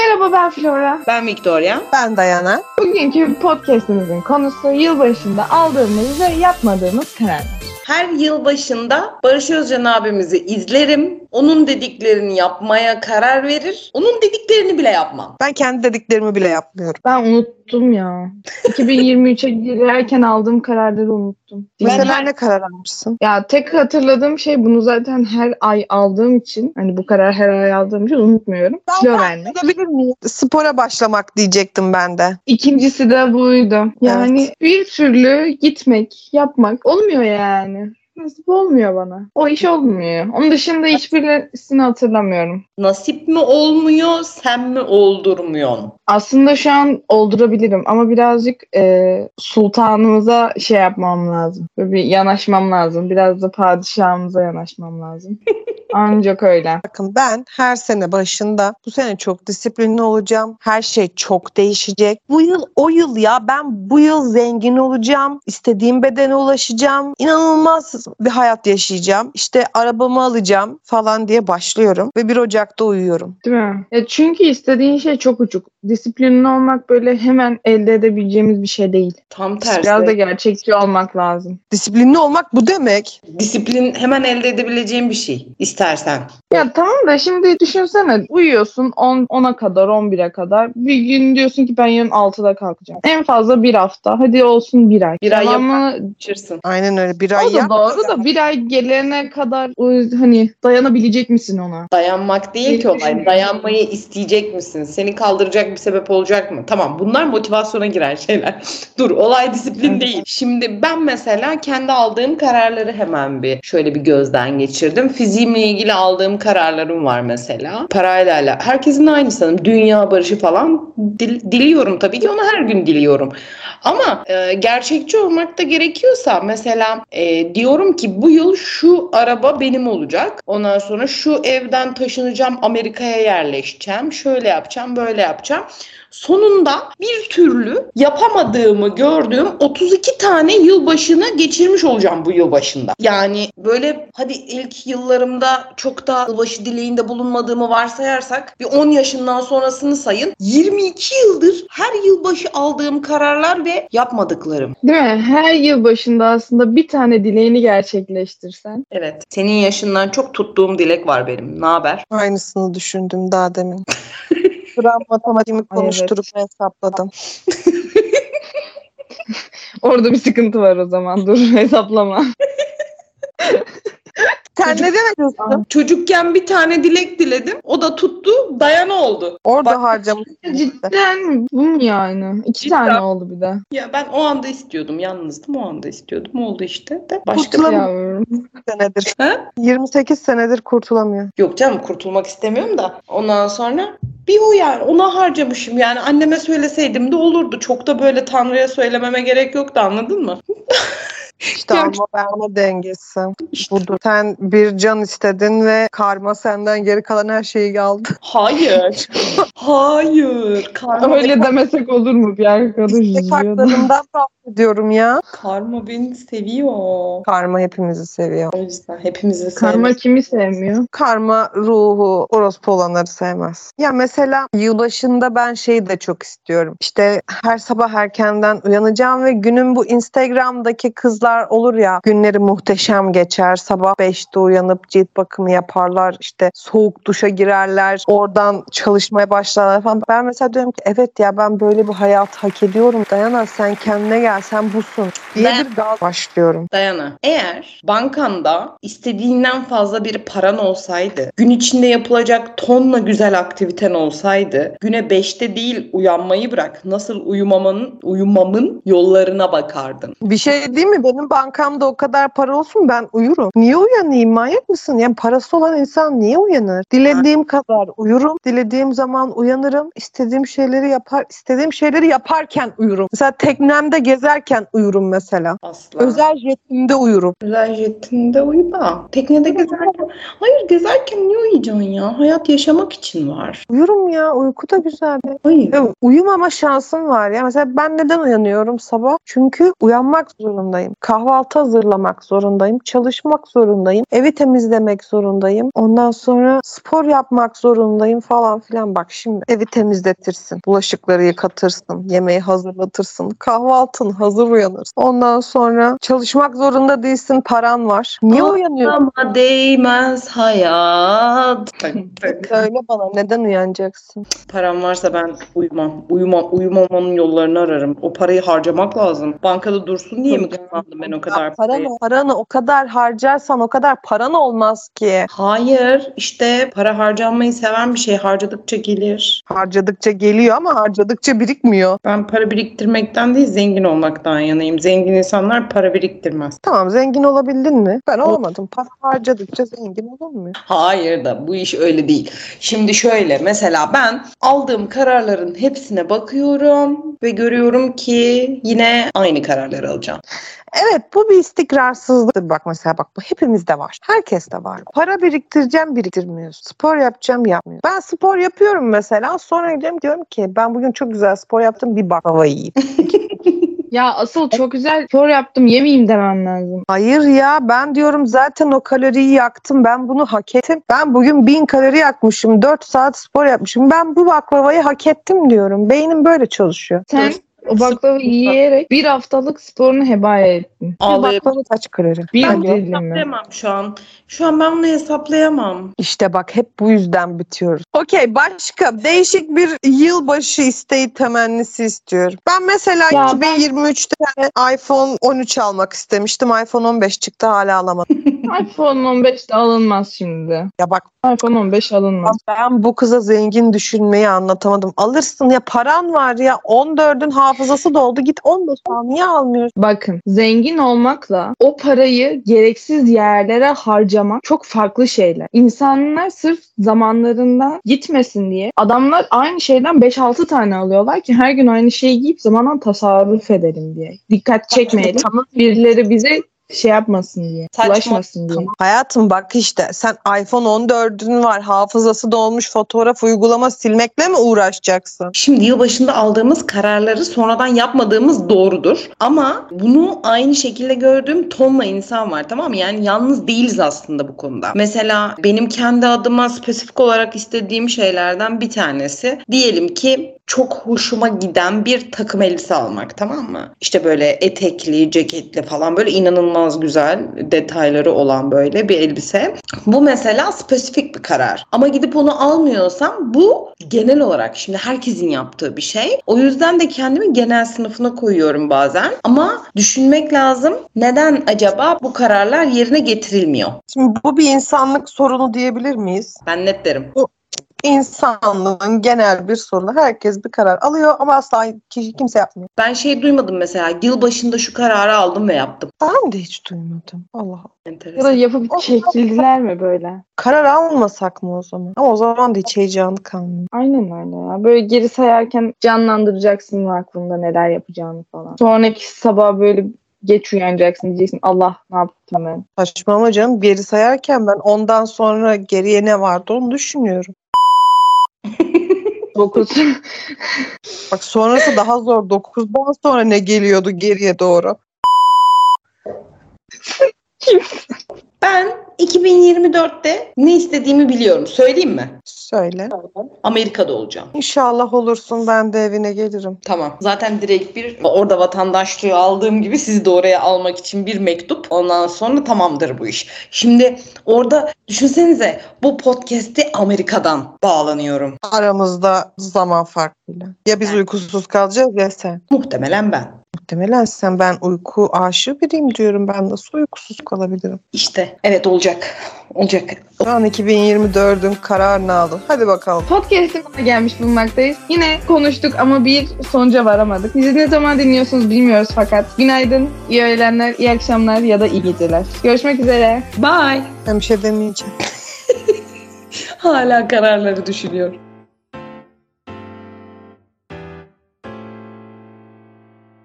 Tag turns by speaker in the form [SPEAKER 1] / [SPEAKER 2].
[SPEAKER 1] Merhaba ben Flora.
[SPEAKER 2] Ben Victoria.
[SPEAKER 3] Ben Dayana.
[SPEAKER 1] Bugünkü podcastimizin konusu yılbaşında aldığımız ve yapmadığımız kararlar.
[SPEAKER 2] Her yıl başında Barış Özcan abimizi izlerim. Onun dediklerini yapmaya karar verir. Onun dediklerini bile yapmam.
[SPEAKER 3] Ben kendi dediklerimi bile yapmıyorum.
[SPEAKER 1] Ben unuttum ya. 2023'e girerken aldığım kararları unuttum.
[SPEAKER 3] Mesela
[SPEAKER 1] Yani her-
[SPEAKER 3] ne karar almışsın?
[SPEAKER 1] ya tek hatırladığım şey bunu zaten her ay aldığım için hani bu karar her ay aldığım için unutmuyorum.
[SPEAKER 3] Ben-
[SPEAKER 1] Kilo vermek.
[SPEAKER 3] Olabilir miyim? Spora başlamak diyecektim ben de.
[SPEAKER 1] İkincisi de buydu. Yani bir türlü gitmek, yapmak olmuyor yani. Nasip olmuyor bana. O iş olmuyor. Onun dışında hiçbirisini hatırlamıyorum.
[SPEAKER 2] Nasip mi olmuyor, sen mi oldurmuyorsun?
[SPEAKER 1] Aslında şu an oldurabilirim ama birazcık e, sultanımıza şey yapmam lazım. Böyle bir yanaşmam lazım. Biraz da padişahımıza yanaşmam lazım. Ancak öyle.
[SPEAKER 3] Bakın ben her sene başında bu sene çok disiplinli olacağım. Her şey çok değişecek. Bu yıl o yıl ya ben bu yıl zengin olacağım. İstediğim bedene ulaşacağım. İnanılmaz bir hayat yaşayacağım. İşte arabamı alacağım falan diye başlıyorum. Ve 1 Ocak'ta uyuyorum.
[SPEAKER 1] Değil mi? Ya E, çünkü istediğin şey çok uçuk. Disiplinli olmak böyle hemen elde edebileceğimiz bir şey değil.
[SPEAKER 2] Tam
[SPEAKER 1] Biraz da
[SPEAKER 2] tersi.
[SPEAKER 1] gerçekçi olmak lazım.
[SPEAKER 3] Disiplinli olmak bu demek.
[SPEAKER 2] Disiplin hemen elde edebileceğin bir şey istersen.
[SPEAKER 1] Ya tamam da şimdi düşünsene uyuyorsun 10 10'a kadar 11'e kadar. Bir gün diyorsun ki ben yarın 6'da kalkacağım. En fazla bir hafta. Hadi olsun bir ay.
[SPEAKER 2] Bir ay
[SPEAKER 1] Devamı
[SPEAKER 2] Kaçırsın.
[SPEAKER 3] Aynen öyle bir ay
[SPEAKER 1] O da
[SPEAKER 3] yap.
[SPEAKER 1] doğru da bir ay gelene kadar o- hani dayanabilecek misin ona?
[SPEAKER 2] Dayanmak değil
[SPEAKER 1] Benim
[SPEAKER 2] ki olay.
[SPEAKER 1] düşüncem-
[SPEAKER 2] Dayanmayı isteyecek misin? Seni kaldıracak bir sebep olacak mı? Tamam bunlar motivasyona girer şeyler. Dur olay disiplin
[SPEAKER 1] Evet.
[SPEAKER 2] değil. Şimdi ben mesela kendi aldığım kararları hemen bir şöyle bir gözden geçirdim. Fiziğimle ilgili aldığım kararlarım var mesela. Parayla ala. Herkesin aynı sanırım. Dünya barışı falan dil- diliyorum tabii ki onu her gün diliyorum. Ama e, gerçekçi olmak da gerekiyorsa mesela e, diyorum ki bu yıl şu araba benim olacak. Ondan sonra şu evden taşınacağım Amerika'ya yerleşeceğim. Şöyle yapacağım böyle yapacağım. Sonunda bir türlü yapamadığımı gördüğüm 32 tane yılbaşını geçirmiş olacağım bu yılbaşında. Yani böyle hadi ilk yıllarımda çok da yılbaşı dileğinde bulunmadığımı varsayarsak bir 10 yaşından sonrasını sayın. 22 yıldır her yılbaşı aldığım kararlar ve yapmadıklarım.
[SPEAKER 1] Değil mi? Her yıl başında aslında bir tane dileğini gerçekleştirsen.
[SPEAKER 2] Evet. Senin yaşından çok tuttuğum dilek var benim. Ne haber?
[SPEAKER 3] Aynısını düşündüm daha demin. Kur'an matematiğimi
[SPEAKER 1] Ay, evet.
[SPEAKER 3] konuşturup hesapladım.
[SPEAKER 1] Orada bir sıkıntı var o zaman. Dur hesaplama.
[SPEAKER 3] Sen ne demek
[SPEAKER 1] Aa.
[SPEAKER 3] istiyorsun?
[SPEAKER 2] Çocukken bir tane dilek diledim. O da tuttu. Dayana oldu.
[SPEAKER 3] Orada
[SPEAKER 2] Bak-
[SPEAKER 3] harcamışsın. işte.
[SPEAKER 1] Cidden bu mu yani? İki
[SPEAKER 2] Cidden.
[SPEAKER 1] tane oldu bir de.
[SPEAKER 2] Ya ben o anda istiyordum. Yalnızdım o anda istiyordum. Oldu işte de. Başka
[SPEAKER 3] Kutla-
[SPEAKER 1] Yavrum.
[SPEAKER 3] senedir.
[SPEAKER 2] Ha?
[SPEAKER 3] 28 senedir kurtulamıyor.
[SPEAKER 2] Yok canım kurtulmak istemiyorum da. Ondan sonra bir o yani ona harcamışım. Yani anneme söyleseydim de olurdu. Çok da böyle Tanrı'ya söylememe gerek yoktu anladın mı?
[SPEAKER 3] İşte
[SPEAKER 2] Ya-
[SPEAKER 3] alma verme dengesi.
[SPEAKER 2] İşte-
[SPEAKER 3] Budur. Sen bir can istedin ve karma senden geri kalan her şeyi aldı.
[SPEAKER 2] Hayır. Hayır. Karma,
[SPEAKER 1] Öyle demesek olur mu? Bir arkadaş
[SPEAKER 3] İstek
[SPEAKER 1] üzülüyordu.
[SPEAKER 3] haklarından bahsediyorum ya.
[SPEAKER 2] karma beni seviyor.
[SPEAKER 3] Karma hepimizi seviyor.
[SPEAKER 2] O yüzden hepimizi
[SPEAKER 1] Karma
[SPEAKER 2] sevmez.
[SPEAKER 1] kimi sevmiyor?
[SPEAKER 3] Karma ruhu orospu olanları sevmez. Ya mesela yılbaşında ben şeyi de çok istiyorum. İşte her sabah erkenden uyanacağım ve günün bu Instagram'daki kızlar olur ya günleri muhteşem geçer. Sabah 5'te uyanıp cilt bakımı yaparlar. işte soğuk duşa girerler. Oradan çalışmaya başlarlar falan. Ben mesela diyorum ki evet ya ben böyle bir hayat hak ediyorum. Dayana sen kendine gel sen busun diye
[SPEAKER 2] Ben-
[SPEAKER 3] bir gaz başlıyorum.
[SPEAKER 2] Dayana. Eğer bankanda istediğinden fazla bir paran olsaydı, gün içinde yapılacak tonla güzel aktiviten olsaydı, güne 5'te değil uyanmayı bırak. Nasıl uyumamanın, uyumamın yollarına bakardın.
[SPEAKER 3] Bir şey değil mi? Benim bankamda o kadar para olsun ben uyurum. Niye uyanayım? Manyak mısın? Yani parası olan insan niye uyanır? Dilediğim kadar uyurum. Dilediğim zaman uyanırım. İstediğim şeyleri yapar. istediğim şeyleri yaparken uyurum. Mesela teknemde gezer izlerken uyurum mesela.
[SPEAKER 2] Asla.
[SPEAKER 3] Özel jetimde uyurum.
[SPEAKER 2] Özel jetinde uyuma. Teknede gezerken. Hayır gezerken niye uyuyacaksın ya? Hayat yaşamak için var.
[SPEAKER 3] Uyurum ya uyku da güzel. be.
[SPEAKER 2] Hayır.
[SPEAKER 3] Ya uyumama şansım var ya. Mesela ben neden uyanıyorum sabah? Çünkü uyanmak zorundayım. Kahvaltı hazırlamak zorundayım. Çalışmak zorundayım. Evi temizlemek zorundayım. Ondan sonra spor yapmak zorundayım falan filan. Bak şimdi evi temizletirsin. Bulaşıkları yıkatırsın. Yemeği hazırlatırsın. Kahvaltın hazır uyanırsın. Ondan sonra çalışmak zorunda değilsin. Paran var. Niye
[SPEAKER 2] Aa,
[SPEAKER 3] uyanıyorsun?
[SPEAKER 2] Ama değmez hayat. Tak, tak.
[SPEAKER 3] Söyle bana neden uyanacaksın?
[SPEAKER 2] Param varsa ben uyumam. Uyumam. Uyumamanın yollarını ararım. O parayı harcamak lazım. Bankada dursun diye mi kazandım ben o kadar parayı?
[SPEAKER 3] Paranı, paranı o kadar harcarsan o kadar paran olmaz ki.
[SPEAKER 2] Hayır. işte para harcanmayı seven bir şey. Harcadıkça gelir.
[SPEAKER 3] Harcadıkça geliyor ama harcadıkça birikmiyor.
[SPEAKER 2] Ben para biriktirmekten değil zengin olmaktan yanayım. Zengin insanlar para biriktirmez.
[SPEAKER 3] Tamam zengin olabildin mi? Ben olmadım. Para harcadıkça zengin olunmuyor.
[SPEAKER 2] Hayır da bu iş öyle değil. Şimdi şöyle mesela ben aldığım kararların hepsine bakıyorum ve görüyorum ki yine aynı kararları alacağım.
[SPEAKER 3] Evet bu bir istikrarsızlıktır. Bak mesela bak bu hepimizde var. Herkeste var. Para biriktireceğim biriktirmiyoruz. Spor yapacağım yapmıyor. Ben spor yapıyorum mesela. Sonra gidiyorum diyorum ki ben bugün çok güzel spor yaptım bir baklava yiyeyim.
[SPEAKER 1] Ya asıl çok güzel spor yaptım yemeyeyim demem lazım.
[SPEAKER 3] Hayır ya ben diyorum zaten o kaloriyi yaktım. Ben bunu hak ettim. Ben bugün 1000 kalori yakmışım. 4 saat spor yapmışım. Ben bu baklavayı hak ettim diyorum. Beynim böyle çalışıyor.
[SPEAKER 1] Sen o baklava yiyerek bir haftalık sporunu heba ettin.
[SPEAKER 3] Bir
[SPEAKER 2] Ağlayıp
[SPEAKER 3] baklava kaç kalori?
[SPEAKER 1] Bir
[SPEAKER 2] ben bunu
[SPEAKER 1] delilim mi?
[SPEAKER 2] hesaplayamam şu an. Şu an ben bunu hesaplayamam.
[SPEAKER 3] İşte bak hep bu yüzden bitiyoruz. Okey başka değişik bir yılbaşı isteği temennisi istiyorum. Ben mesela
[SPEAKER 1] Ya
[SPEAKER 3] 2023'te iPhone 13 almak istemiştim. iPhone 15 çıktı hala alamadım.
[SPEAKER 1] iPhone 15 de alınmaz şimdi.
[SPEAKER 3] ya bak
[SPEAKER 1] iPhone 15 alınmaz.
[SPEAKER 3] Ben bu kıza zengin düşünmeyi anlatamadım. Alırsın ya paran var ya 14'ün hafızası doldu git 15 al niye almıyorsun?
[SPEAKER 1] Bakın zengin olmakla o parayı gereksiz yerlere harcamak çok farklı şeyler. İnsanlar sırf zamanlarından gitmesin diye adamlar aynı şeyden 5-6 tane alıyorlar ki her gün aynı şeyi giyip zamandan tasarruf edelim diye. Dikkat çekmeyelim. Birileri bize şey yapmasın diye,
[SPEAKER 2] Saçma.
[SPEAKER 1] ulaşmasın diye.
[SPEAKER 3] Hayatım bak işte sen iPhone 14'ün var hafızası dolmuş fotoğraf uygulama silmekle mi uğraşacaksın?
[SPEAKER 2] Şimdi yılbaşında aldığımız kararları sonradan yapmadığımız doğrudur. Ama bunu aynı şekilde gördüğüm tonla insan var tamam mı? Yani yalnız değiliz aslında bu konuda. Mesela benim kendi adıma spesifik olarak istediğim şeylerden bir tanesi. Diyelim ki çok hoşuma giden bir takım elbise almak tamam mı? İşte böyle etekli, ceketli falan böyle inanılmaz güzel detayları olan böyle bir elbise. Bu mesela spesifik bir karar. Ama gidip onu almıyorsam bu genel olarak şimdi herkesin yaptığı bir şey. O yüzden de kendimi genel sınıfına koyuyorum bazen. Ama düşünmek lazım. Neden acaba bu kararlar yerine getirilmiyor?
[SPEAKER 3] Şimdi bu bir insanlık sorunu diyebilir miyiz?
[SPEAKER 2] Ben net derim.
[SPEAKER 3] İnsanlığın genel bir sorunu. Herkes bir karar alıyor ama asla kişi kimse yapmıyor.
[SPEAKER 2] Ben şey duymadım mesela yıl başında şu kararı aldım ve yaptım.
[SPEAKER 3] Ben de hiç duymadım. Allah Allah.
[SPEAKER 1] Ya da
[SPEAKER 2] Enteresan.
[SPEAKER 1] yapıp çekildiler mi böyle?
[SPEAKER 3] Karar almasak mı o zaman? Ama o zaman da hiç heyecanı kalmıyor.
[SPEAKER 1] Aynen öyle ya. Böyle geri sayarken canlandıracaksın aklında neler yapacağını falan. Sonraki sabah böyle geç uyanacaksın diyeceksin Allah ne yaptım ben.
[SPEAKER 3] Saçmalama canım. Geri sayarken ben ondan sonra geriye ne vardı onu düşünüyorum.
[SPEAKER 1] Dokuz.
[SPEAKER 3] Bak sonrası daha zor. 9'dan sonra ne geliyordu geriye doğru?
[SPEAKER 2] Ben 2024'te ne istediğimi biliyorum. Söyleyeyim mi?
[SPEAKER 3] Söyle.
[SPEAKER 2] Amerika'da olacağım.
[SPEAKER 3] İnşallah olursun ben de evine gelirim.
[SPEAKER 2] Tamam. Zaten direkt bir orada vatandaşlığı aldığım gibi sizi de oraya almak için bir mektup. Ondan sonra tamamdır bu iş. Şimdi orada düşünsenize bu podcast'i Amerika'dan bağlanıyorum.
[SPEAKER 3] Aramızda zaman farkıyla. Ya biz uykusuz kalacağız ya sen.
[SPEAKER 2] Muhtemelen ben.
[SPEAKER 3] Muhtemelen sen ben uyku aşığı biriyim diyorum. Ben nasıl uykusuz kalabilirim?
[SPEAKER 2] İşte evet olacak. Olacak.
[SPEAKER 3] Şu an 2024'ün kararını aldım. Hadi bakalım.
[SPEAKER 1] Podcast'imize gelmiş bulunmaktayız. Yine konuştuk ama bir sonuca varamadık. Bizi ne zaman dinliyorsunuz bilmiyoruz fakat günaydın, iyi öğlenler, iyi akşamlar ya da iyi geceler. Görüşmek üzere.
[SPEAKER 2] Bye.
[SPEAKER 3] Ben bir şey demeyeceğim.
[SPEAKER 2] Hala kararları düşünüyor.